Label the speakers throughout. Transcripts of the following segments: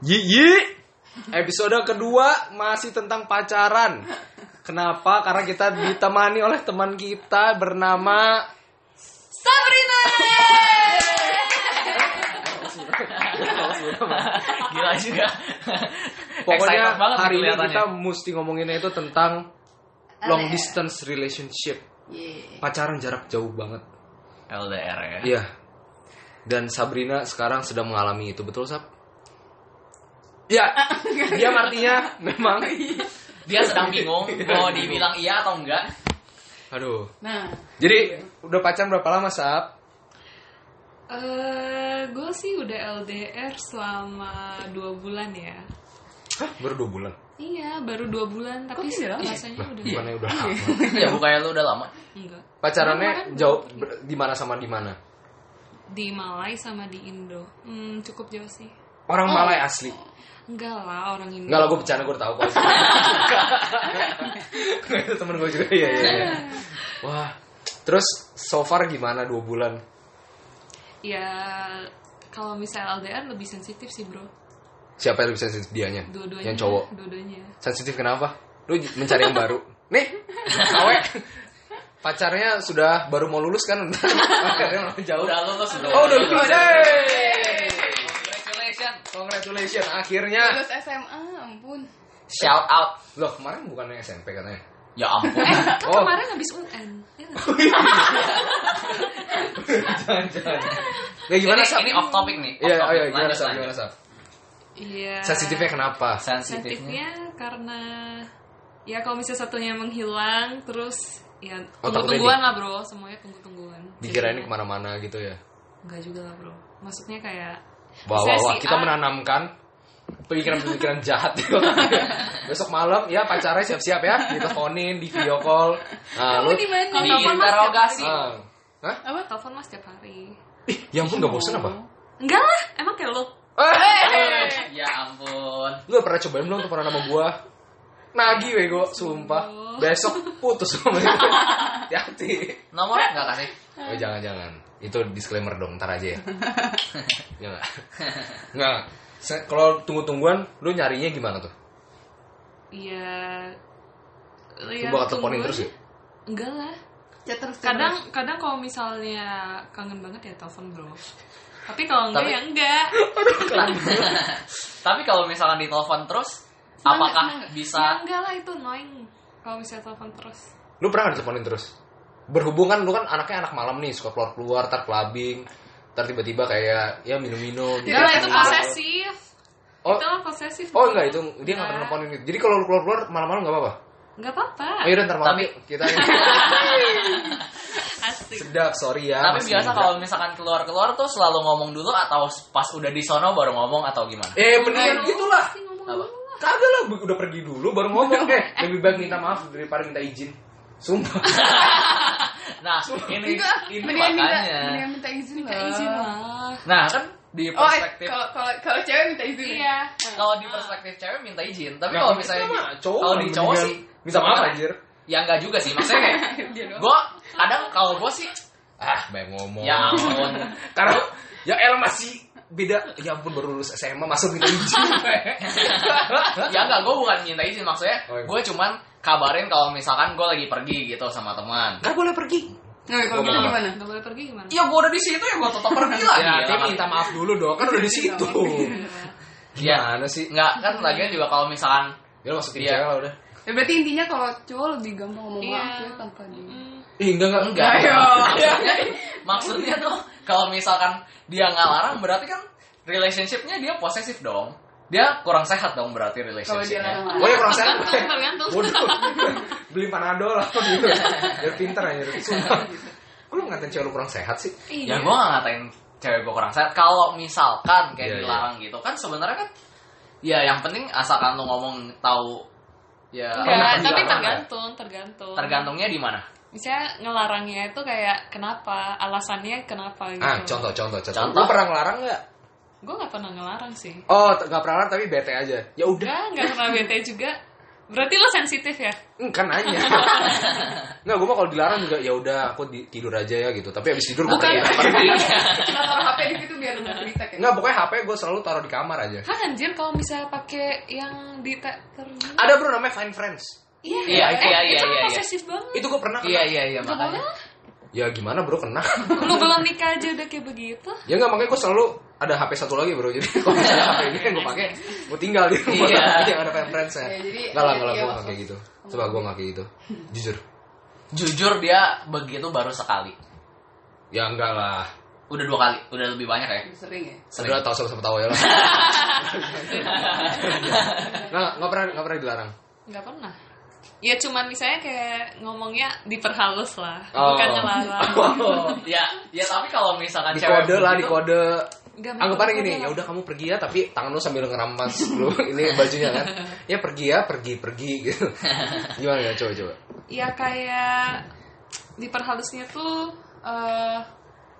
Speaker 1: Yi Episode kedua masih tentang pacaran. Kenapa? Karena kita ditemani oleh teman kita bernama
Speaker 2: Sabrina.
Speaker 3: Gila juga.
Speaker 1: Pokoknya
Speaker 3: Excited banget
Speaker 1: hari ini
Speaker 3: kelihatannya.
Speaker 1: kita mesti ngomonginnya itu tentang long
Speaker 2: LDR.
Speaker 1: distance relationship. Iya.
Speaker 2: Ye.
Speaker 1: Pacaran jarak jauh banget.
Speaker 3: LDR ya.
Speaker 1: Iya. Dan Sabrina sekarang sedang mengalami itu, betul Sab? Ya, dia artinya memang
Speaker 3: Dia sedang bingung mau dibilang iya atau enggak.
Speaker 1: aduh.
Speaker 2: Nah,
Speaker 1: Jadi udah pacaran berapa lama, Sab?
Speaker 4: eh gue sih udah LDR selama dua bulan ya.
Speaker 1: Hah, baru dua bulan.
Speaker 4: Iya, baru dua bulan, tapi
Speaker 2: Kok
Speaker 1: Iya.
Speaker 2: tidak lama?
Speaker 4: rasanya
Speaker 3: Iya.
Speaker 4: udah
Speaker 1: Bukannya udah lama.
Speaker 3: Ya bukannya lu udah lama.
Speaker 4: enggak.
Speaker 1: Pacarannya jauh ber- di mana sama di mana?
Speaker 4: Di Malai sama di Indo, hmm, cukup jauh sih.
Speaker 1: Orang Malay asli.
Speaker 4: Enggak lah orang Indo.
Speaker 1: Enggak lah, gue bercanda, gue tau kok. itu temen gue juga, iya, iya, iya. Wah, terus so far gimana dua bulan?
Speaker 4: Ya kalau misalnya LDR lebih sensitif sih bro.
Speaker 1: Siapa yang lebih sensitif dianya?
Speaker 4: Dua-duanya.
Speaker 1: Yang cowok.
Speaker 4: Dua-duanya.
Speaker 1: Sensitif kenapa? Lu j- mencari yang baru. Nih, awe. Pacarnya sudah baru mau lulus kan? Pacarnya mau jauh.
Speaker 3: Udah lulus bro.
Speaker 1: Oh, udah lulus. Yeay!
Speaker 3: Congratulations.
Speaker 1: Congratulations, akhirnya.
Speaker 2: lulus SMA, ampun.
Speaker 3: Shout out.
Speaker 1: Loh, kemarin bukannya SMP katanya?
Speaker 3: Ya ampun.
Speaker 4: Eh, kan
Speaker 1: Oh.
Speaker 4: kemarin habis UN. Ya nggak sih?
Speaker 1: Jangan-jangan. Ya gimana,
Speaker 3: ini,
Speaker 1: Sab?
Speaker 3: ini off topic nih. Off
Speaker 1: Iya,
Speaker 3: topic.
Speaker 1: ayo, gimana,
Speaker 3: Lanjut,
Speaker 1: Sab?
Speaker 3: lanjut.
Speaker 1: Gimana, Sab?
Speaker 4: Iya.
Speaker 1: Sensitifnya kenapa?
Speaker 3: Sensitifnya.
Speaker 4: sensitifnya karena ya kalau misalnya satunya menghilang terus ya
Speaker 1: Oh,
Speaker 4: tunggu
Speaker 1: takutnya
Speaker 4: tungguan lah bro semuanya tunggu tungguan
Speaker 1: Dikirainnya kemana-mana gitu ya.
Speaker 4: enggak juga lah bro maksudnya kayak
Speaker 1: Wah, wah,
Speaker 4: misalnya
Speaker 1: wah,
Speaker 4: si
Speaker 1: kita
Speaker 4: A-
Speaker 1: menanamkan pemikiran-pemikiran jahat gitu. Besok malam ya pacarnya siap-siap ya, diteleponin, di video call. Nah, lu
Speaker 2: Kamu di mana?
Speaker 4: Kalau
Speaker 3: Ah, Di
Speaker 4: telepon mas tiap
Speaker 3: interogasi.
Speaker 4: hari.
Speaker 1: ah. Hah?
Speaker 2: Apa?
Speaker 4: telepon mas tiap hari
Speaker 1: Ih, ya ampun gak bosen apa?
Speaker 4: enggak lah emang kayak lo
Speaker 1: Eh,
Speaker 3: Ya ampun.
Speaker 1: lu gak pernah cobain belum teleponan sama gua? Nagih bego, sumpah. Besok putus sama itu. Hati-hati.
Speaker 3: Nomornya enggak kasih.
Speaker 1: Oh, jangan-jangan. Itu disclaimer dong, ntar aja ya. ya enggak. Enggak. Se- Kalau tunggu-tungguan, lu nyarinya gimana tuh?
Speaker 4: iya
Speaker 1: Lu
Speaker 4: lihat
Speaker 1: bakal teleponin
Speaker 4: tungguan.
Speaker 1: terus ya?
Speaker 4: enggak lah
Speaker 2: Ya terus
Speaker 4: kadang kadang kalau misalnya kangen banget ya telepon bro tapi kalau enggak
Speaker 3: Tapi-
Speaker 4: ya enggak
Speaker 3: Tapi kalau misalkan ditelepon terus,
Speaker 4: Enggak,
Speaker 3: apakah
Speaker 4: enggak, enggak.
Speaker 3: bisa
Speaker 1: Iya.
Speaker 4: Ya, enggak lah itu annoying kalau misalnya telepon terus
Speaker 1: Lu pernah gak diteleponin terus? Berhubungan lu kan anaknya anak malam nih, suka keluar-keluar, tar clubbing, tar tiba-tiba kayak ya minum-minum.
Speaker 4: Enggak lah
Speaker 1: gitu.
Speaker 4: Iya, itu posesif.
Speaker 1: Oh.
Speaker 4: Itu lah posesif.
Speaker 1: Oh enggak itu dia nggak
Speaker 4: Enggak.
Speaker 1: pernah nelponin gitu. Jadi kalau lu keluar-keluar malam-malam nggak apa-apa.
Speaker 4: Enggak apa-apa.
Speaker 1: Ayo udah ntar malam
Speaker 3: Tapi-
Speaker 1: yuk, kita
Speaker 4: Asik.
Speaker 1: sedap sorry ya.
Speaker 3: Tapi
Speaker 1: masih
Speaker 3: biasa
Speaker 1: muda.
Speaker 3: kalau misalkan keluar-keluar tuh selalu ngomong dulu atau pas udah di sono baru ngomong atau gimana?
Speaker 1: eh mendingan
Speaker 4: Ngomong
Speaker 1: gitulah.
Speaker 4: sih, ngomong
Speaker 3: Apa?
Speaker 4: dulu.
Speaker 1: Kagak lah bu- udah pergi dulu baru ngomong eh lebih baik minta maaf daripada minta izin. Sumpah.
Speaker 3: Nah, ini
Speaker 2: Enggak,
Speaker 3: ini
Speaker 2: mendingan minta,
Speaker 3: makanya.
Speaker 2: mendingan minta izin
Speaker 4: Minta
Speaker 2: lah.
Speaker 4: Iya, izin lah.
Speaker 3: Nah, kan di
Speaker 2: Oh, eh,
Speaker 3: perspektif
Speaker 2: kalau kalau kalau cewek minta izin. ya?
Speaker 4: Iya.
Speaker 3: kalau di perspektif cewek minta izin, tapi
Speaker 1: Nah,
Speaker 3: kalau
Speaker 1: itu
Speaker 3: misalnya
Speaker 1: mah
Speaker 3: di-
Speaker 1: cowok
Speaker 3: kalau
Speaker 1: lah,
Speaker 3: di cowok
Speaker 1: mendingan
Speaker 3: sih
Speaker 1: minta maaf,
Speaker 3: sebenarnya-
Speaker 1: anjir.
Speaker 3: Ya enggak juga sih, maksudnya kayak
Speaker 2: Dia doang.
Speaker 3: gue kadang kalau gue sih
Speaker 1: ah, banyak ngomong.
Speaker 3: ya ampun.
Speaker 1: Karena ya El masih beda. Ya ampun baru lulus SMA masuk minta izin.
Speaker 3: ya enggak, gue bukan minta izin maksudnya.
Speaker 1: Oh, iya.
Speaker 3: Gue cuman kabarin kalau misalkan gue lagi pergi gitu sama teman.
Speaker 1: Gak boleh pergi.
Speaker 2: Nah, kalau gitu
Speaker 1: Ngomong apa? Iya.
Speaker 2: gimana?
Speaker 4: Enggak boleh pergi gimana?
Speaker 3: Ya gue udah di situ ya gue tetap pergi lah.
Speaker 1: Ya,
Speaker 3: Gila,
Speaker 1: tapi minta maaf dulu dong, kan udah di situ.
Speaker 3: Iya.
Speaker 1: Gimana sih?
Speaker 3: Enggak, kan lagian juga kalau misalkan
Speaker 1: Ya masuk tim
Speaker 3: Iya.
Speaker 1: cewek lah udah.
Speaker 2: Ya, berarti intinya kalau cowok lebih gampang ngomong
Speaker 4: Iya.
Speaker 2: maaf ya tanpa di.
Speaker 4: Hmm.
Speaker 1: Ih, enggak enggak enggak.
Speaker 3: enggak.
Speaker 2: Ayo.
Speaker 3: Maksudnya, maksudnya tuh kalau misalkan dia nggak larang berarti kan relationshipnya dia posesif dong. Dia kurang sehat dong berarti
Speaker 2: Kalau dia
Speaker 3: relationshipnya.
Speaker 2: larang.
Speaker 1: Gue yang merasa
Speaker 4: Tergantung, tergantung.
Speaker 1: Bodoh. Beli panadol lah gitu. Biar pinter aja gitu. Sumpah. Kok lu ngatain cewek lu kurang sehat sih?
Speaker 3: Ya
Speaker 4: Iya.
Speaker 3: gue nggak ngatain cewek gue kurang sehat. Kalau misalkan kayak
Speaker 1: Iya, iya.
Speaker 3: dilarang gitu kan sebenarnya kan ya yang penting asalkan lu ngomong tahu ya
Speaker 4: Enggak,
Speaker 1: Pernah
Speaker 4: Iya, tapi
Speaker 1: dilarang,
Speaker 4: tergantung, tergantung.
Speaker 3: tergantungnya di mana.
Speaker 4: Misalnya ngelarangnya itu kayak kenapa, alasannya kenapa gitu.
Speaker 1: Ah, contoh contoh contoh.
Speaker 3: Contoh.
Speaker 1: Lu pernah ngelarang enggak?
Speaker 4: Gue gak pernah ngelarang sih.
Speaker 1: Oh, t- nggak pernah ngelarang tapi bete aja. Ya udah.
Speaker 4: Enggak, gak pernah bete juga. Berarti lo sensitif ya?
Speaker 1: Enggak mm, kan nanya. Enggak, gue mah kalau dilarang juga ya udah aku di- tidur aja ya gitu. Tapi abis tidur gue
Speaker 4: Bukan.
Speaker 1: ya.
Speaker 2: Cuma taruh HP di situ biar nggak ya? cerita kayak.
Speaker 1: Enggak, pokoknya HP gue selalu taruh di kamar aja.
Speaker 4: Kan anjir kalau misalnya pakai yang di ta- taruh gini.
Speaker 1: Ada bro namanya Find Friends.
Speaker 4: Iya,
Speaker 3: Iya,
Speaker 4: eh,
Speaker 3: iya, iya,
Speaker 4: itu
Speaker 3: iya, iya.
Speaker 4: posesif banget.
Speaker 1: Itu gue pernah
Speaker 3: Iya
Speaker 1: kena.
Speaker 3: iya iya
Speaker 4: Gak boleh
Speaker 3: makanya.
Speaker 4: lah.
Speaker 1: Ya gimana bro kena?
Speaker 4: Lu belum nikah aja udah kayak begitu.
Speaker 1: ya enggak makanya gue selalu ada HP satu lagi bro. Jadi kalau misalnya HP ini yang gue pakai, gue tinggal di rumah.
Speaker 3: Iya.
Speaker 1: yang ada Find Friends ya.
Speaker 2: Ya,
Speaker 1: Enggak lah,
Speaker 2: jadi- iya,
Speaker 1: enggak lah
Speaker 2: iya,
Speaker 1: gue nggak
Speaker 2: maksud-
Speaker 1: kayak gitu. Coba gue nggak kayak gitu. Jujur.
Speaker 3: Jujur dia begitu baru sekali.
Speaker 1: Ya enggak lah.
Speaker 3: Udah dua kali, udah lebih banyak ya.
Speaker 2: Sering ya.
Speaker 3: Sering.
Speaker 1: Sebenernya tahu sama-sama tahu ya lah. Nggak, nggak pernah, nggak pernah dilarang.
Speaker 4: Gak pernah. Ya cuman misalnya kayak ngomongnya diperhalus lah,
Speaker 1: Oh.
Speaker 4: bukan ngelarang. Oh.
Speaker 3: ya, ya tapi kalau misalkan
Speaker 1: Di
Speaker 3: cewek gitu.
Speaker 1: kode lah, di
Speaker 3: begitu,
Speaker 1: kode.
Speaker 4: Nggak,
Speaker 1: Anggapannya
Speaker 4: nggak
Speaker 1: gini,
Speaker 4: kode
Speaker 1: ya
Speaker 4: lah.
Speaker 1: udah kamu pergi ya, tapi tangan lu sambil ngerampas lu ini bajunya kan. Ya pergi ya, pergi, pergi gitu. Gimana ya, coba coba.
Speaker 4: ya kayak diperhalusnya tuh eh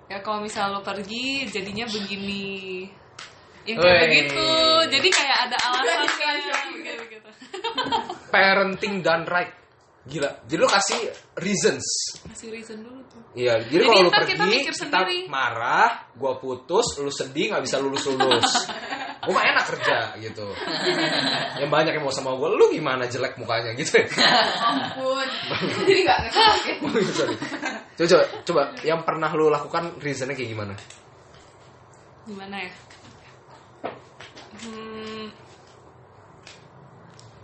Speaker 4: ya kalau misal lo pergi jadinya begini yang kayak
Speaker 3: Wey.
Speaker 4: begitu jadi kayak ada
Speaker 1: Iya,
Speaker 4: alasannya
Speaker 2: shopping.
Speaker 4: gitu gitu
Speaker 1: Parenting done right. Gila. Jadi lu kasih reasons.
Speaker 4: kasih reason dulu tuh
Speaker 1: Iya, jadi,
Speaker 4: Jadi
Speaker 1: kalau lu
Speaker 4: ntar
Speaker 1: pergi,
Speaker 4: kita mikir
Speaker 1: kita
Speaker 4: sendiri.
Speaker 1: marah, gua putus, lu sedih nggak bisa lulus-lulus. gua mah enak kerja gitu. Yang banyak yang mau sama gua, lu gimana jelek mukanya gitu. ya.
Speaker 2: Ampun. Jadi nggak ngerti.
Speaker 1: Sorry. Coba, coba, coba yang pernah lu lakukan reasonnya kayak gimana?
Speaker 4: gimana ya hmm,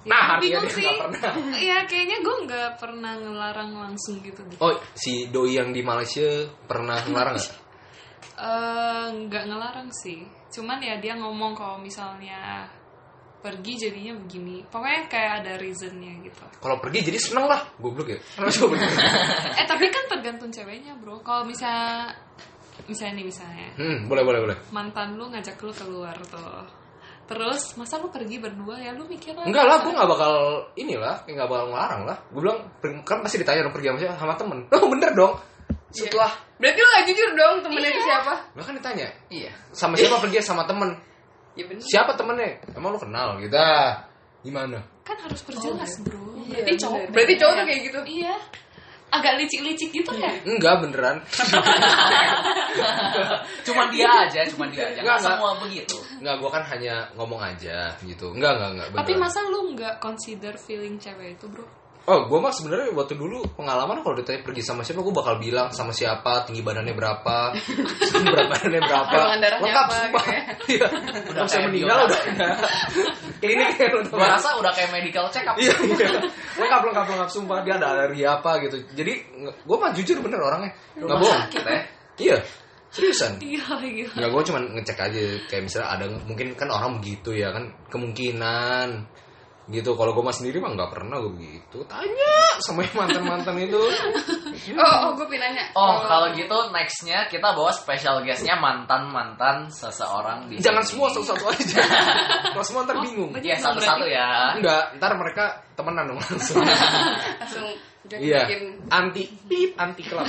Speaker 4: Ya,
Speaker 1: Nah, artinya
Speaker 4: bingung
Speaker 1: dia
Speaker 4: sih
Speaker 1: nggak pernah.
Speaker 4: Iya kayaknya gue nggak pernah ngelarang langsung gitu deh
Speaker 1: Oh, si doi yang di Malaysia pernah ngelarang nggak?
Speaker 4: Eh, nggak ngelarang sih cuman ya dia ngomong kalau misalnya pergi jadinya begini pokoknya kayak ada reasonnya gitu
Speaker 1: Kalau pergi jadi seneng lah, goblok ya. Kenapa sih goblok?
Speaker 4: eh tapi kan tergantung ceweknya bro kalau misalnya misalnya nih misalnya
Speaker 1: Hmm, boleh boleh boleh.
Speaker 4: mantan lu ngajak lu keluar tuh terus masa lu pergi berdua ya lu mikir lah
Speaker 1: Enggak lah, gue gak bakal inilah, kayak gak bakal ngelarang lah. Gue bilang, per- kan pasti ditanya dong pergi sama siapa? Sama temen. Oh bener dong. Setelah,
Speaker 2: Berarti lu nggak jujur dong temennya
Speaker 4: Iya.
Speaker 2: itu siapa?
Speaker 1: Lah kan ditanya,
Speaker 3: Iya.
Speaker 1: sama siapa pergi sama temen?
Speaker 2: Ya bener.
Speaker 4: Iya,
Speaker 1: Siapa temennya? Emang lu kenal gitu? Ah, Gimana?
Speaker 4: kan harus perjelas bro
Speaker 2: Iya,
Speaker 4: berarti cowok
Speaker 2: bener. Berarti cowok tuh kayak gitu.
Speaker 4: iya agak licik-licik gitu ya
Speaker 1: Enggak beneran.
Speaker 3: Cuman dia aja, cuman dia
Speaker 1: Enggak,
Speaker 3: aja. Nggak semua begitu.
Speaker 1: Enggak, gue kan hanya ngomong aja gitu. Enggak, enggak, enggak.
Speaker 4: tapi
Speaker 1: beneran.
Speaker 4: masa lu nggak consider feeling cewek itu bro
Speaker 1: Oh, gue mah sebenarnya waktu dulu pengalaman kalau ditanya pergi sama siapa, gue bakal bilang sama siapa, tinggi badannya berapa, berat badannya berapa,
Speaker 2: Golongan darahnya
Speaker 1: lengkap
Speaker 2: apa,
Speaker 1: sumpah.
Speaker 2: gitu ya.
Speaker 1: Iya,
Speaker 3: Udah
Speaker 1: udah saya
Speaker 3: kayak
Speaker 1: meninggal
Speaker 3: biologis.
Speaker 1: udah. Klinik ya udah.
Speaker 3: Gue rasa udah kayak medical check up.
Speaker 1: Iya, iya. lengkap lengkap lengkap sumpah dia ada alergi apa gitu. Jadi gue mah jujur bener orangnya, nggak bohong.
Speaker 3: Kita ya.
Speaker 1: Iya, seriusan.
Speaker 4: gila gila
Speaker 1: Ya gue cuman ngecek aja kayak misalnya ada mungkin kan orang begitu ya kan kemungkinan gitu kalau gue mah sendiri mah nggak pernah gue begitu tanya sama yang mantan mantan itu
Speaker 2: Oh, oh gue pinanya.
Speaker 3: Oh, kalau gitu nextnya kita bawa special guestnya mantan-mantan seseorang di
Speaker 1: jangan
Speaker 3: sini.
Speaker 1: semua satu satu aja kalau semua ntar bingung
Speaker 4: berarti-
Speaker 3: Iya, satu-satu ya.
Speaker 1: enggak ntar mereka temenan dong langsung
Speaker 2: langsung udah
Speaker 1: iya
Speaker 2: bikin
Speaker 1: anti pip anti kelab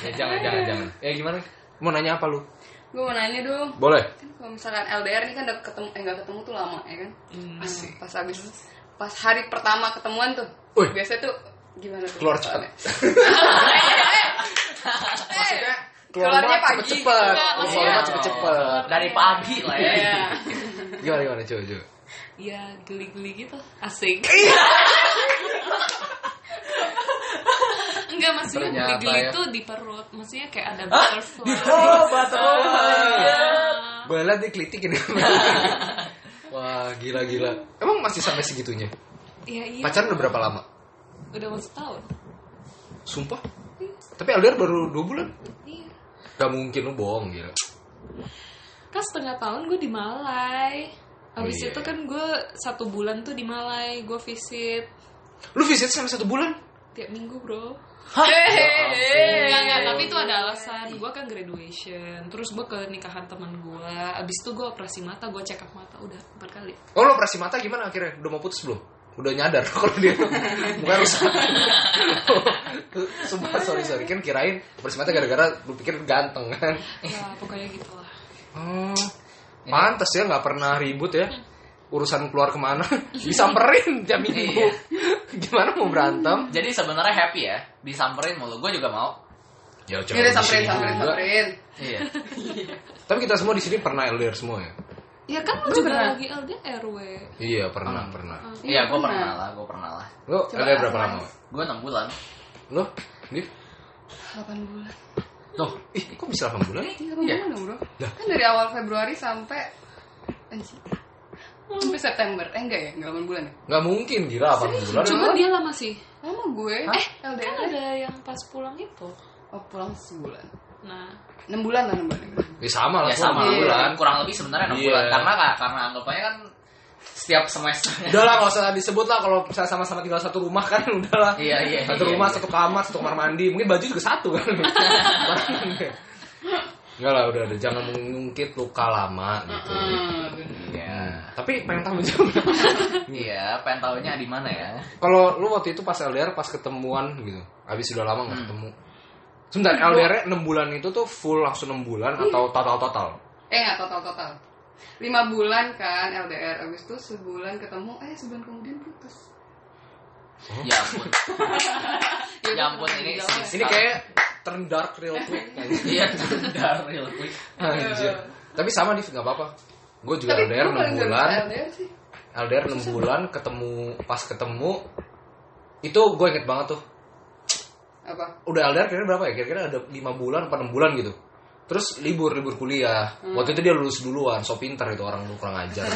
Speaker 1: ya jangan jangan jangan ya gimana mau nanya apa lu
Speaker 2: gue mau nanya dong
Speaker 1: boleh
Speaker 2: kan kalau misalkan LDR ini kan udah ketemu eh nggak ketemu tuh lama ya kan Nah, pas abis pas hari pertama ketemuan tuh
Speaker 1: Wih.
Speaker 2: biasanya tuh gimana tuh
Speaker 1: keluar cepat
Speaker 2: Eh, maksudnya
Speaker 1: keluarnya
Speaker 2: keluarnya
Speaker 1: cepet
Speaker 2: pagi ya.
Speaker 1: cepet
Speaker 4: Enggak, maksudnya-
Speaker 1: keluarnya cepet cepet
Speaker 3: Dari pagi lah ya.
Speaker 2: Iya.
Speaker 1: gimana gimana coba coba
Speaker 4: ya geli-geli gitu asik enggak maksudnya
Speaker 1: Ternyata
Speaker 4: geli-geli
Speaker 1: ya.
Speaker 4: itu di perut maksudnya kayak ada butterfly
Speaker 1: Oh, butterfly.
Speaker 4: Iya.
Speaker 1: Boleh liat dia kelitik ini. Wah, gila-gila. Emang masih sampai segitunya?
Speaker 4: Iya, iya.
Speaker 1: Pacaran udah berapa lama?
Speaker 4: udah mau setahun
Speaker 1: Sumpah. Tapi LDR baru 2 bulan.
Speaker 4: iya
Speaker 1: Gak mungkin lu bohong gila.
Speaker 4: kan setengah tahun gue di Malai habis
Speaker 1: Oh, iya.
Speaker 4: itu kan gue satu bulan tuh di Malai gue visit
Speaker 1: Lu visit sampai satu bulan?
Speaker 4: tiap minggu bro Eh,
Speaker 1: Hehehe.
Speaker 4: Enggak, enggak, tapi itu ada alasan Gue kan graduation Terus gue ke nikahan teman gue Abis itu gue operasi mata, gue check up mata Udah berkali
Speaker 1: Oh, lu operasi mata gimana akhirnya? Udah mau putus belum? Udah nyadar kalau dia bukan rusak. Sumpah, sorry, sorry. Kan kirain operasi mata gara-gara lu pikir ganteng kan.
Speaker 4: Ya pokoknya gitu lah
Speaker 1: Hmm, pantes ya nggak pernah ribut ya. urusan keluar kemana disamperin tiap minggu
Speaker 3: Iya.
Speaker 1: gimana mau berantem
Speaker 3: Jadi sebenarnya happy ya, disamperin mulu. Gue juga mau.
Speaker 1: ya
Speaker 2: Ini deh samperin, samperin,
Speaker 1: juga.
Speaker 2: samperin.
Speaker 3: Iya.
Speaker 1: tapi kita semua di sini pernah LDR semua ya
Speaker 2: Ya kan lu
Speaker 4: Lu
Speaker 2: juga
Speaker 4: juga lagi LDR, we.
Speaker 1: iya pernah pernah
Speaker 3: Iya, gue pernah lah, gue pernah lah.
Speaker 1: lo
Speaker 2: Coba
Speaker 1: LDR berapa
Speaker 2: Mas.
Speaker 1: lama
Speaker 3: Gue 6 bulan.
Speaker 1: lo Div
Speaker 2: 8 bulan.
Speaker 1: loh ih kok bisa 8 bulan
Speaker 2: Tiga bulan
Speaker 3: Iya.
Speaker 2: dong bro.
Speaker 1: Lah.
Speaker 2: Kan dari awal Februari sampai anjing. Sampai September. Eh enggak ya, enggak 8 bulan ya.
Speaker 1: nggak mungkin gila 8 bulan
Speaker 4: Cuma dia lama sih.
Speaker 2: Lama gue. Eh,
Speaker 4: Kan
Speaker 2: LDR.
Speaker 4: ada yang pas pulang itu.
Speaker 2: Oh, pulang sebulan.
Speaker 4: Nah,
Speaker 2: 6 bulan lah, 6 bulan. enam bulan.
Speaker 1: Ya sama lah
Speaker 3: Ya
Speaker 1: semua
Speaker 3: sama
Speaker 1: enam bulan.
Speaker 3: bulan, kurang lebih sebenarnya 6
Speaker 1: Iya.
Speaker 3: bulan. Karena ka- karena anggapannya kan setiap semesternya.
Speaker 1: Udah lah nggak usah disebut lah kalau misalnya sama-sama tinggal satu rumah kan udah lah.
Speaker 3: Iya, iya,
Speaker 1: Satu
Speaker 3: iya,
Speaker 1: rumah,
Speaker 3: iya.
Speaker 1: satu kamar, satu kamar mandi. Mungkin baju juga satu kan. Enggak lah udah, udah jangan mengungkit luka lama gitu.
Speaker 2: Hmm, bener.
Speaker 3: Iya.
Speaker 1: Tapi pengen tahu juga.
Speaker 3: Iya, pengen taunya di mana ya?
Speaker 1: Kalau lu waktu itu pas LDR pas ketemuan gitu. Habis udah lama nggak
Speaker 3: Hmm.
Speaker 1: ketemu. Sebentar, LDR 6 bulan itu tuh full langsung 6 bulan atau total-total?
Speaker 2: Eh, enggak total-total. 5 bulan kan LDR. Abis itu sebulan ketemu, eh sebulan kemudian putus.
Speaker 1: Oh.
Speaker 3: Ya ampun. ya ampun ini
Speaker 2: Ini
Speaker 1: Ini kayak turn dark real quick. anjing.
Speaker 3: Iya, tendar real quick.
Speaker 1: Anjir. Tapi sama Div, nggak apa-apa. Gue juga
Speaker 2: Tapi
Speaker 1: LDR
Speaker 2: gue
Speaker 1: 6
Speaker 2: paling gak bisa
Speaker 1: bulan.
Speaker 2: LDR sih.
Speaker 1: LDR 6 bulan ketemu pas ketemu itu gue inget banget tuh
Speaker 2: Apa?
Speaker 1: udah LDR kira-kira berapa ya kira-kira ada 5 bulan apa 6 bulan gitu terus libur libur kuliah waktu itu dia lulus duluan so pinter itu orang lu kurang ajar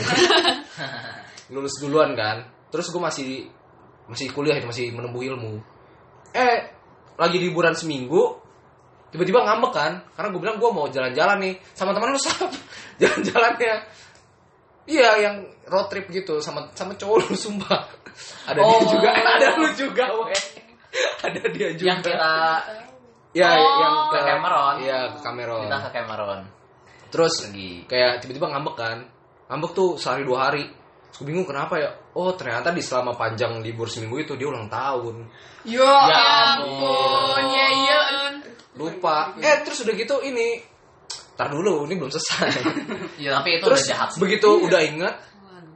Speaker 1: lulus duluan kan terus gue masih masih kuliah itu masih menempuh ilmu eh lagi liburan seminggu tiba-tiba ngambek kan karena gue bilang gue mau jalan-jalan nih sama teman lu sab jalan-jalannya iya yang road trip gitu sama sama cowok lu sumpah ada dia
Speaker 3: Oh.
Speaker 1: juga ada lu juga weh ada dia juga
Speaker 3: Yang kita
Speaker 1: ya
Speaker 4: Oh.
Speaker 1: yang
Speaker 3: ke Cameron.
Speaker 1: iya ke Cameron
Speaker 3: Kita ke Cameron.
Speaker 1: terus
Speaker 3: Pergi.
Speaker 1: kayak tiba-tiba ngambek kan ngambek tuh sehari dua hari terus gue bingung kenapa ya oh ternyata di selama panjang libur seminggu itu dia ulang tahun
Speaker 2: Yo
Speaker 3: Ya
Speaker 2: ampun, ya iya.
Speaker 1: lupa eh terus udah gitu ini tar dulu ini belum selesai
Speaker 3: Ya tapi itu
Speaker 1: terus
Speaker 3: udah jahat sih. Iya.
Speaker 1: begitu udah inget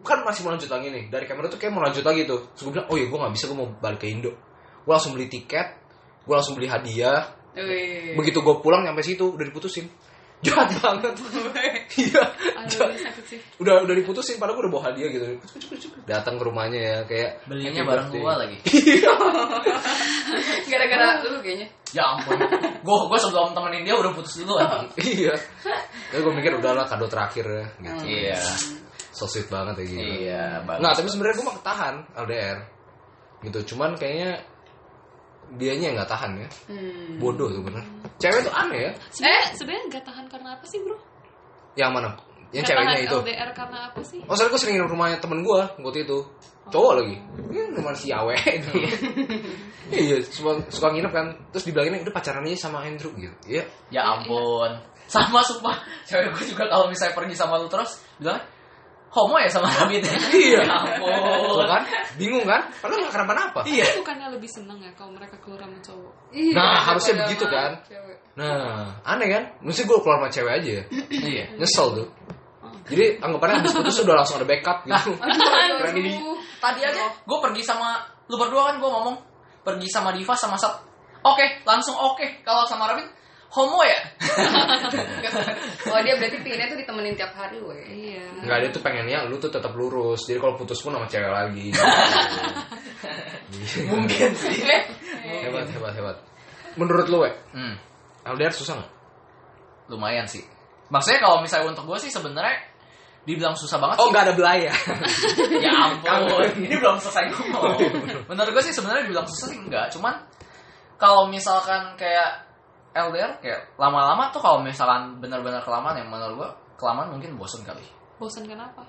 Speaker 1: kan masih mau lanjut lagi nih dari kamera tuh kayak mau lanjut lagi tuh terus gue bilang oh ya gue nggak bisa gue mau balik ke Indo gue langsung beli tiket gue langsung beli hadiah
Speaker 3: Iya.
Speaker 2: Wih.
Speaker 1: begitu gue pulang nyampe situ udah diputusin jahat banget iya
Speaker 4: aduh
Speaker 1: jahat.
Speaker 4: ini sakit sih.
Speaker 1: udah udah diputusin padahal gue udah bawa hadiah gitu datang ke rumahnya ya kayak
Speaker 3: Belinya
Speaker 1: happy
Speaker 3: bareng
Speaker 1: birthday.
Speaker 3: gua lagi.
Speaker 2: Gara-gara lu kayaknya.
Speaker 3: Ya ampun. Gua gua sebelum temenin dia udah putus duluan.
Speaker 1: iya tapi gue mikir udahlah kado terakhir ya gitu
Speaker 3: Iya.
Speaker 1: so sweet banget ya gitu
Speaker 3: Iya, bagus.
Speaker 1: Nggak, tapi sebenarnya gue mah ketahan LDR gitu cuman kayaknya dianya yang nggak tahan ya
Speaker 2: Hmm.
Speaker 1: bodoh tuh bener cewek tuh aneh ya
Speaker 4: Sebenarnya sebenarnya nggak tahan karena apa sih, Bro?
Speaker 1: yang mana yang
Speaker 4: Nggak
Speaker 1: ceweknya
Speaker 4: tahan
Speaker 1: itu
Speaker 4: LDR karena apa sih?
Speaker 1: oh soalnya gue sering nginep rumahnya temen gue waktu itu cowok lagi ya rumah si awe itu iya suka, suka nginep kan terus dibilangin udah pacaran aja sama Andrew gitu iya
Speaker 3: Ya ampun. Sama sumpah. Cewek gue juga kalau misalnya pergi sama lu terus bilang homo ya sama Rabbit.
Speaker 1: Iya.
Speaker 3: Ya ampun.
Speaker 1: Tuh kan bingung kan padahal nggak kenapa-napa
Speaker 3: Iya.
Speaker 4: Tapi bukannya lebih seneng ya kalau mereka keluar sama cowok?
Speaker 2: Iya,
Speaker 1: Nah, harusnya
Speaker 2: daripada
Speaker 1: begitu,
Speaker 2: sama
Speaker 1: kan?
Speaker 2: cewek.
Speaker 1: Nah, aneh kan? Mesti gue keluar sama cewek aja ya.
Speaker 3: Iya.
Speaker 1: Nyesel tuh. Jadi anggapannya habis putus udah langsung ada backup gitu.
Speaker 2: Aduh,
Speaker 1: Keren ini.
Speaker 2: aduh.
Speaker 3: Tadi aja gue pergi sama lu berdua kan gue ngomong pergi sama Diva sama Sat. Oke, langsung oke. Kalau sama Rabbit homo ya?
Speaker 2: Oh, dia berarti pinginnya tuh ditemenin tiap hari, weh.
Speaker 4: Iya.
Speaker 1: Enggak, dia tuh pengennya lu tuh tetap lurus. Jadi kalau putus pun sama cewek lagi. Gitu.
Speaker 3: Mungkin sih.
Speaker 1: hebat, hebat, hebat. Menurut lu, Wek,
Speaker 3: Hmm,
Speaker 1: LDR susah nggak?
Speaker 3: lumayan sih. Maksudnya kalau misalnya untuk gue sih sebenarnya dibilang susah banget
Speaker 1: Oh, nggak ada belaya.
Speaker 3: ya ampun ini belum selesai ngomong menurut gue sih sebenarnya dibilang susah sih enggak cuman kalau misalkan kayak LDR kayak lama-lama tuh kalau misalkan benar-benar kelamaan yang menurut gue kelamaan mungkin bosen kali
Speaker 4: Bosan kenapa?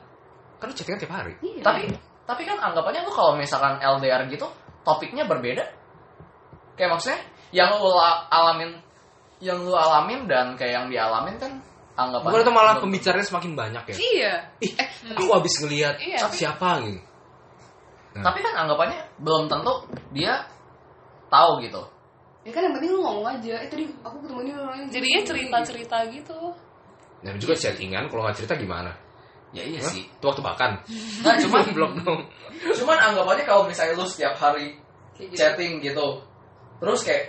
Speaker 1: kan lu chattingan tiap hari.
Speaker 2: Iya.
Speaker 3: tapi tapi kan anggapannya tuh kalau misalkan LDR gitu topiknya berbeda kayak maksudnya yang lu la- alamin yang lu alamin dan kayak yang dialamin kan anggapannya
Speaker 1: Bukan itu malah pembicaranya semakin banyak ya.
Speaker 2: Iya.
Speaker 1: Ih, aku habis ngelihat
Speaker 2: Iya.
Speaker 1: siapa gitu.
Speaker 3: tapi kan anggapannya belum tentu dia tahu gitu
Speaker 2: Ya kan yang penting lu ngomong aja. Eh tadi aku ketemu dia orangnya.
Speaker 4: Jadinya cerita-cerita gitu.
Speaker 1: Dan juga chattingan kalau nggak cerita gimana?
Speaker 3: ya iya
Speaker 1: Hah?
Speaker 3: sih
Speaker 1: Itu waktu makan.
Speaker 3: nah cuman
Speaker 1: belum belum.
Speaker 3: cuman anggapannya kalau misalnya lu setiap hari
Speaker 4: Iya.
Speaker 2: Kayak gitu.
Speaker 3: chatting gitu terus kayak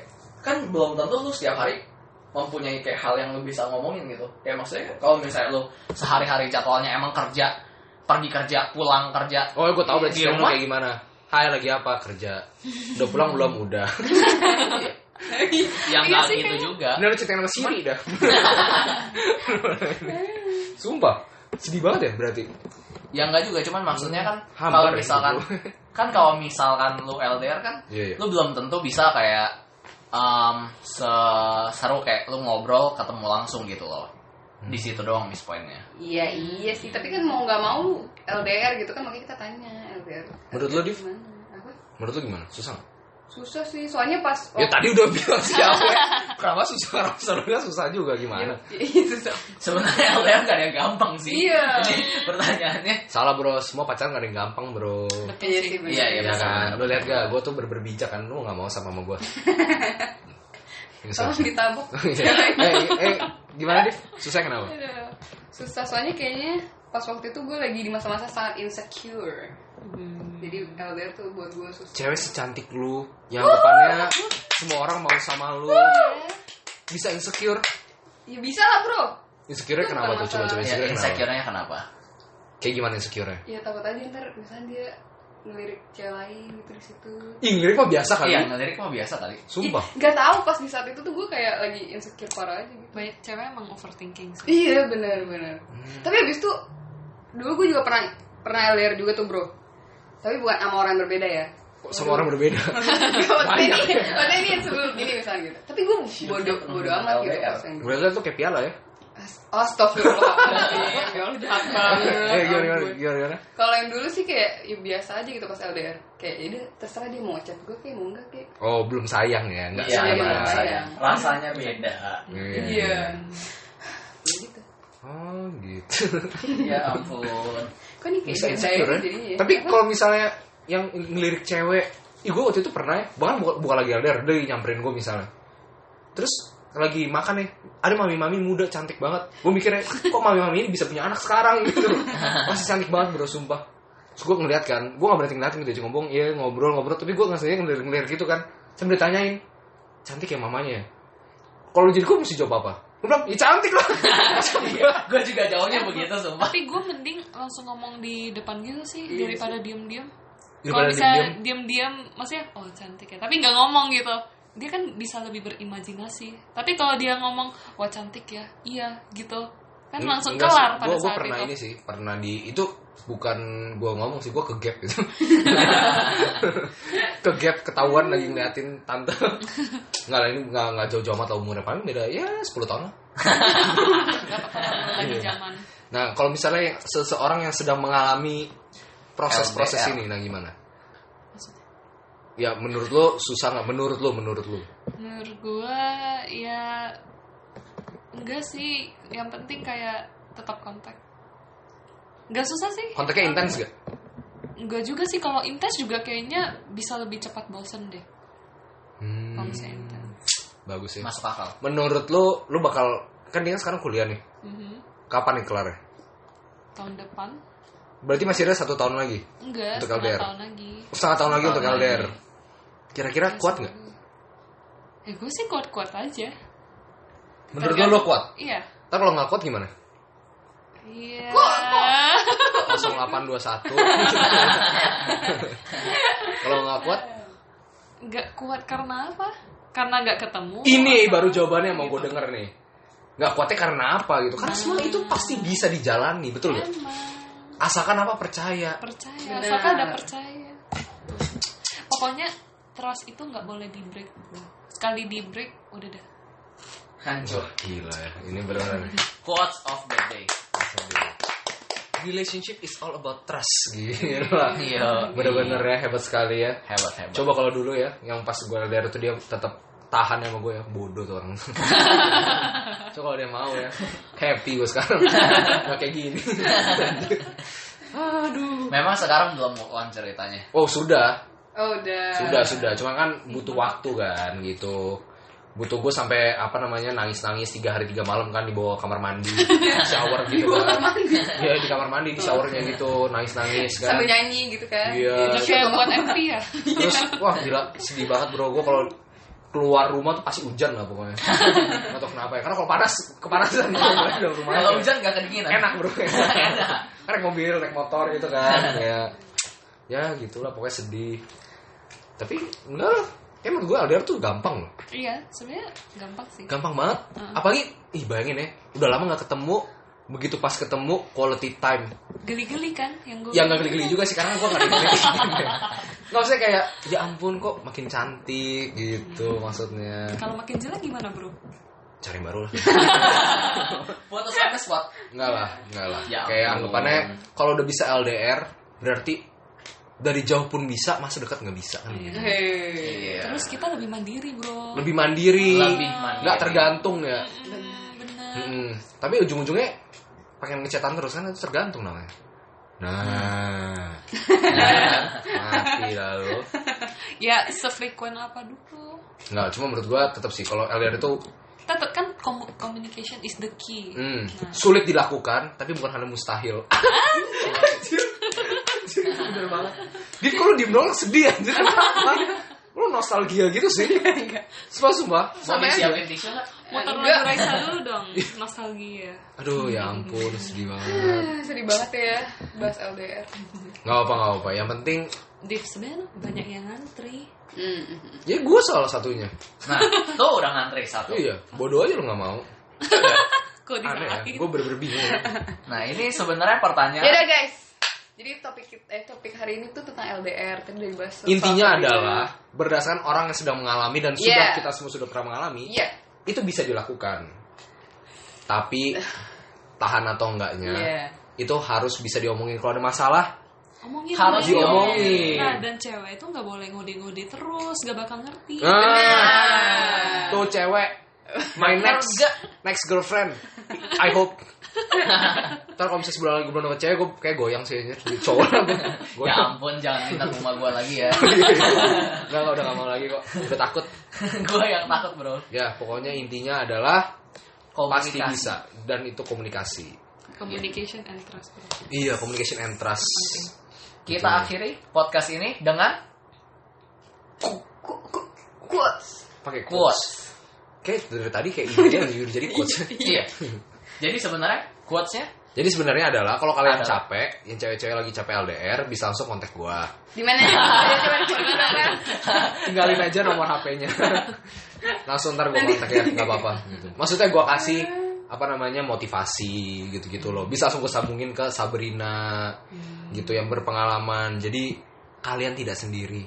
Speaker 3: kan belum tentu lu setiap hari mempunyai kayak hal yang lu bisa ngomongin gitu kayak maksudnya kalau misalnya lu sehari-hari jadwalnya emang kerja pergi kerja pulang kerja ya
Speaker 1: Oh, gue tau berarti
Speaker 3: Di
Speaker 1: sekarang lu
Speaker 3: rumah?
Speaker 1: kayak gimana. Hai lagi apa kerja? Udah pulang belum? Udah.
Speaker 3: yang
Speaker 4: Iya
Speaker 3: nggak
Speaker 4: sih,
Speaker 3: gitu
Speaker 4: kayaknya.
Speaker 3: juga
Speaker 1: Ini ada cerita yang Siri dah. Sumpah, sedih banget ya berarti.
Speaker 3: yang Ya nggak juga cuman maksudnya kan
Speaker 1: Hambar
Speaker 3: kalau
Speaker 1: ya
Speaker 3: misalkan
Speaker 1: hidup
Speaker 3: kan kalau misalkan lu LDR kan
Speaker 1: Iya, iya.
Speaker 3: lu belum tentu bisa kayak um, seseru kayak lu ngobrol ketemu langsung gitu loh di situ doang miss pointnya
Speaker 2: Iya iya sih, tapi kan mau nggak mau LDR gitu kan makanya kita tanya LDR.
Speaker 1: Menurut lo, Div?
Speaker 2: Gimana? Apa?
Speaker 1: Menurut lu gimana? Susah nggak?
Speaker 2: Susah sih, soalnya pas
Speaker 1: Ya tadi udah bilang siapa ya. Kenapa susah? Kenapa serunya Kan susah juga gimana?
Speaker 2: itu Iya, susah.
Speaker 3: sebenarnya LDR gak ada yang gampang sih
Speaker 2: Iya.
Speaker 3: Jadi, pertanyaannya
Speaker 1: Salah bro, semua pacaran gak ada yang gampang bro.
Speaker 2: Iya sih bener.
Speaker 3: Iya, iya.
Speaker 1: Ya kan, lu lihat gak? Gue tuh berberbijak kan, lu gak mau sama sama gue.
Speaker 2: Tolong ditabok.
Speaker 1: eh, eh, gimana Div? Susah kenapa?
Speaker 2: Aduh. Susah soalnya kayaknya pas waktu itu gue lagi di masa-masa sangat insecure.
Speaker 1: Hmm.
Speaker 2: Jadi LDR tuh buat gue susah.
Speaker 1: Cewek secantik lu, yang depannya semua orang mau sama lu. Bisa insecure.
Speaker 2: Ya bisa lah bro.
Speaker 1: Insecure
Speaker 2: Itu
Speaker 1: kenapa
Speaker 2: bukan
Speaker 1: tuh? Coba coba
Speaker 2: masalah.
Speaker 1: insecure
Speaker 3: ya,
Speaker 1: kenapa?
Speaker 3: insecure-nya kenapa
Speaker 1: Kayak gimana insecure-nya?
Speaker 2: Ya takut aja ntar misalnya dia ngelirik cewek lain gitu di situ.
Speaker 1: Ih, ngelirik mah biasa kali.
Speaker 3: iya ngelirik mah biasa kali
Speaker 1: Sumpah.
Speaker 2: Gak tau pas di saat itu tuh gue kayak lagi insecure parah aja gitu.
Speaker 4: Banyak cewek emang overthinking sih.
Speaker 2: Iya benar-benar.
Speaker 1: Hmm.
Speaker 2: Tapi habis itu dulu gue juga pernah pernah LDR juga tuh bro. Tapi bukan sama orang yang berbeda ya.
Speaker 1: Kok semua orang berbeda.
Speaker 2: Maksudnya ini, maksudnya ini yang sebelum ini misalnya gitu. Tapi gue bodoh
Speaker 1: Hmm.
Speaker 2: bodoh amat gitu
Speaker 3: LDR.
Speaker 2: pas yang gitu.
Speaker 1: Gue liat tuh kayak piala ya.
Speaker 2: Astagfirullahaladzim, ya Allah jahat
Speaker 1: Eh,
Speaker 2: banget.
Speaker 1: gimana, gimana,
Speaker 2: Ampun.
Speaker 1: gimana, gimana?
Speaker 2: Kalau yang dulu sih kayak ya biasa aja gitu pas LDR. Kayak ya udah, terserah dia mau chat gue kayak mau enggak kayak.
Speaker 1: Oh, belum sayang ya. Enggak
Speaker 2: Iya,
Speaker 1: sayang.
Speaker 2: iya, iya,
Speaker 3: rasanya
Speaker 2: sayang.
Speaker 3: rasanya beda
Speaker 1: Iya.
Speaker 2: Ya gitu.
Speaker 1: Oh, gitu.
Speaker 3: ya ampun
Speaker 2: Kok nih kayak
Speaker 1: Bisa
Speaker 2: gitu
Speaker 1: insecure ya.
Speaker 2: jadinya ya?
Speaker 1: Tapi kalau misalnya yang ngelirik cewek, ih gue waktu itu pernah ya, bahkan bukan, bukan lagi LDR, dia nyamperin gue misalnya. Terus lagi makan nih, ada mami-mami muda cantik banget. Gue mikirnya, kok mami-mami ini bisa punya anak sekarang gitu. Masih cantik banget bro, sumpah. Terus gue ngeliat kan, gue gak berhenti ngeliatin gitu, cuma ngomong, iya ngobrol-ngobrol. Tapi gue ngasihnya ngelirik-ngelirik gitu kan. Sambil ditanyain, cantik ya mamanya ya? Kalau jadi gue mesti jawab apa? Gue bilang, ya cantik lah.
Speaker 3: gue Iya, juga
Speaker 1: Iya,
Speaker 3: jawabnya
Speaker 1: gitu,
Speaker 3: begitu sumpah
Speaker 4: Tapi gue mending langsung ngomong di depan gitu sih
Speaker 2: Iya
Speaker 4: daripada diem-diem. Kalau
Speaker 1: Daripada
Speaker 4: bisa
Speaker 1: diem-diem.
Speaker 4: diem-diem, maksudnya oh cantik ya. Tapi nggak ngomong gitu. Dia kan bisa lebih berimajinasi. Tapi kalau dia ngomong wah cantik ya, iya gitu. Kan langsung kelar pada
Speaker 1: gue,
Speaker 4: saat
Speaker 1: pernah
Speaker 4: itu.
Speaker 1: ini sih pernah di itu bukan gue ngomong sih gue ke gap gitu ke gap ketahuan lagi ngeliatin tante nggak lah ini nggak nggak jauh jauh amat lah umurnya paling beda ya 10 tahun lah
Speaker 4: Nggak apa-apa, lagi
Speaker 1: Iya.
Speaker 4: zaman.
Speaker 1: nah kalau misalnya yang- seseorang yang sedang mengalami proses proses
Speaker 3: LDR.
Speaker 1: ini nah gimana
Speaker 4: Maksudnya,
Speaker 1: ya menurut lo susah nggak menurut lo menurut lo
Speaker 4: menurut gue ya enggak sih. Yang penting kayak tetap kontak. Nggak susah sih.
Speaker 1: kontaknya intens gak
Speaker 4: Enggak juga sih kalau intens juga kayaknya bisa lebih cepat bosen deh.
Speaker 1: Hmm,
Speaker 4: Kalau misalnya intens.
Speaker 1: bagus ya
Speaker 3: masuk akal
Speaker 1: menurut lo lo bakal kan dia kan sekarang kuliah nih
Speaker 4: Mhm.
Speaker 1: kapan nih kelarnya
Speaker 4: Tahun depan?
Speaker 1: berarti masih ada satu tahun lagi
Speaker 4: Enggak,
Speaker 1: Untuk
Speaker 4: setengah
Speaker 1: LDR.
Speaker 4: tahun lagi.
Speaker 1: setengah tahun Kan lagi untuk
Speaker 3: Tahun lagi.
Speaker 1: LDR kira-kira kuat nggak
Speaker 4: Ya gue sih kuat-kuat aja.
Speaker 1: Menurut lo lo kuat?
Speaker 4: Iya.
Speaker 1: Tapi kalau nggak kuat gimana?
Speaker 4: Iya.
Speaker 2: Kok-
Speaker 1: Langsung 821 Kalau nggak kuat
Speaker 4: Enggak kuat karena apa? Karena enggak ketemu.
Speaker 1: Ini
Speaker 4: Atau-
Speaker 1: baru jawabannya yang mau gue denger nih Nggak kuatnya karena apa gitu Karena semua itu pasti bisa dijalani Betul nggak?
Speaker 4: Emang
Speaker 1: Asalkan apa percaya
Speaker 4: percaya,
Speaker 2: Benar.
Speaker 4: asalkan ada percaya. Pokoknya trust itu nggak boleh di break. Sekali di break udah dah.
Speaker 3: hancur
Speaker 1: Wah gila ya Ini beneran nih.
Speaker 3: quotes of the day
Speaker 1: Relationship is all about trust Gila
Speaker 3: iya
Speaker 1: Bener-bener ya hebat sekali ya
Speaker 3: hebat hebat
Speaker 1: Coba kalau dulu ya, yang pas gue LDR tuh dia tetap tahan sama gue ya, bodoh tuh orang. Coba kalau dia mau ya, happy gue sekarang. Gak kayak gini. Aduh.
Speaker 3: memang sekarang belum move on ceritanya
Speaker 1: Oh sudah,
Speaker 2: Oh udah.
Speaker 1: sudah, sudah. Cuma kan butuh waktu kan gitu. butuh gue sampai apa namanya nangis nangis tiga hari tiga malam kan dibawa kamar mandi shower gitu kan Iya di kamar mandi di showernya gitu nangis nangis kan
Speaker 2: sambil nyanyi gitu kan
Speaker 1: Iya.
Speaker 2: Jadi
Speaker 4: kayak
Speaker 2: kayak
Speaker 4: buat MV ya
Speaker 1: terus wah gila sedih banget bro gue kalau keluar rumah tuh pasti hujan lah pokoknya nggak tahu kenapa ya karena kalau panas kepanasan gitu dalam rumah
Speaker 3: Kalau hujan gak kedinginan.
Speaker 1: enak bro kan naik mobil naik motor gitu kan ya ya gitulah pokoknya sedih tapi enggak lah Kayak menurut gue LDR tuh gampang loh
Speaker 4: iya sebenarnya gampang sih
Speaker 1: Gampang banget Apalagi Ih bayangin ya Udah lama gak ketemu Begitu pas ketemu Quality time
Speaker 4: geli-geli kan yang gue
Speaker 1: yang gak Ya, geli-geli juga sih karena gue gak geli-geli Gak maksudnya kayak ya ampun kok makin cantik gitu maksudnya
Speaker 4: kalau makin jelek gimana bro
Speaker 1: cari yang baru lah
Speaker 3: Foto sama spot.
Speaker 1: nggak lah nggak lah
Speaker 3: Ya
Speaker 1: kayak
Speaker 3: ampun.
Speaker 1: anggapannya kalau udah bisa LDR berarti dari jauh pun bisa masa dekat nggak bisa kan
Speaker 4: Iya.
Speaker 1: Iya.
Speaker 2: Hei.
Speaker 4: terus kita lebih mandiri bro
Speaker 1: lebih mandiri
Speaker 3: Lebih mandiri.
Speaker 1: nggak tergantung ya
Speaker 4: Hmm, bener
Speaker 1: Mm-mm. tapi ujung-ujungnya pengen ngecatan terus kan itu tergantung namanya nah mati lalu
Speaker 4: ya sefrekuen apa dulu
Speaker 1: nggak cuma menurut gua tetap sih kalau LDR itu
Speaker 4: tetap kan komu- communication is the key
Speaker 1: Hmm, sulit dilakukan, tapi bukan hal yang mustahil. anjir, Ah. anjir, bener banget. Dit, kok lu diem doang sedih anjir? Kenapa? lu nostalgia gitu sih. Sumpah, sumpah.
Speaker 3: Mau
Speaker 1: Sama aja.
Speaker 3: disiapin tisu nggak?
Speaker 1: Ya,
Speaker 4: motor
Speaker 2: Enggak.
Speaker 4: lagu Raisa dulu dong
Speaker 1: Iya.
Speaker 4: nostalgia
Speaker 1: Aduh, ya ampun, sedih banget.
Speaker 2: Ah, sedih banget ya bahas LDR
Speaker 1: Gak apa, gak apa. Yang penting,
Speaker 4: Div sebenarnya banyak yang ngantri
Speaker 2: hmm.
Speaker 1: ya gue salah satunya.
Speaker 3: Nah, tuh udah ngantri satu.
Speaker 1: Iya, bodoh aja lu gak mau.
Speaker 4: kok
Speaker 1: Aneh ya,
Speaker 4: disalahin
Speaker 1: gue bener-bener bingung.
Speaker 3: Nah, ini sebenarnya pertanyaan.
Speaker 2: Yaudah guys. Jadi topik kita- eh, topik hari ini tuh tentang LDR tadi dari bahas soal-
Speaker 1: Intinya
Speaker 2: soal-
Speaker 1: adalah, berdasarkan orang yang sedang mengalami dan
Speaker 2: Iya.
Speaker 1: sudah kita semua sudah pernah mengalami,
Speaker 2: Iya.
Speaker 1: itu bisa dilakukan. Tapi, tahan atau enggaknya,
Speaker 2: Iya.
Speaker 1: itu harus bisa diomongin kalau ada masalah
Speaker 4: omongin
Speaker 3: Harus
Speaker 4: dong.
Speaker 1: diomongin.
Speaker 4: nah dan cewek itu nggak boleh ngode-ngode terus gak bakal ngerti
Speaker 3: Iya,
Speaker 1: ah, tuh cewek my next next girlfriend I hope ntar kalau misalnya sebulan lagi gue belum dapet cewek gue kayak goyang sih anjir Jadi cowok lah gue
Speaker 3: Ya
Speaker 1: goyang
Speaker 3: ampun, jangan minta rumah gua lagi ya.
Speaker 1: nggak nggak, udah gak mau lagi kok udah takut
Speaker 3: gua yang takut, Bro.
Speaker 1: ya pokoknya intinya adalah pasti
Speaker 3: Komunikasi.
Speaker 1: bisa dan itu komunikasi
Speaker 4: communication and trust bro.
Speaker 1: iya communication and trust
Speaker 3: Kita akhiri podcast ini dengan
Speaker 1: pakai quotes
Speaker 3: quotes.
Speaker 1: kayak dari tadi kayak ini aja jujur jadi quotes
Speaker 3: Iya. Jadi sebenarnya quotesnya
Speaker 1: jadi sebenarnya adalah kalau kalian
Speaker 3: Adalah.
Speaker 1: capek yang cewek-cewek lagi capek LDR bisa langsung kontak gua
Speaker 2: Di mana? Coba coba di mana?
Speaker 1: tinggalin aja nomor HP-nya langsung ntar gue kontak ya nggak apa-apa gitu. maksudnya gue kasih apa namanya motivasi gitu-gitu loh bisa langsung gue sambungin ke Sabrina gitu yang berpengalaman jadi kalian tidak sendiri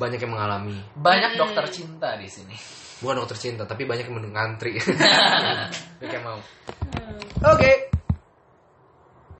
Speaker 1: banyak yang mengalami
Speaker 3: banyak dokter cinta di sini.
Speaker 1: bukan dokter cinta tapi banyak yang mengantri banyak yang mau oke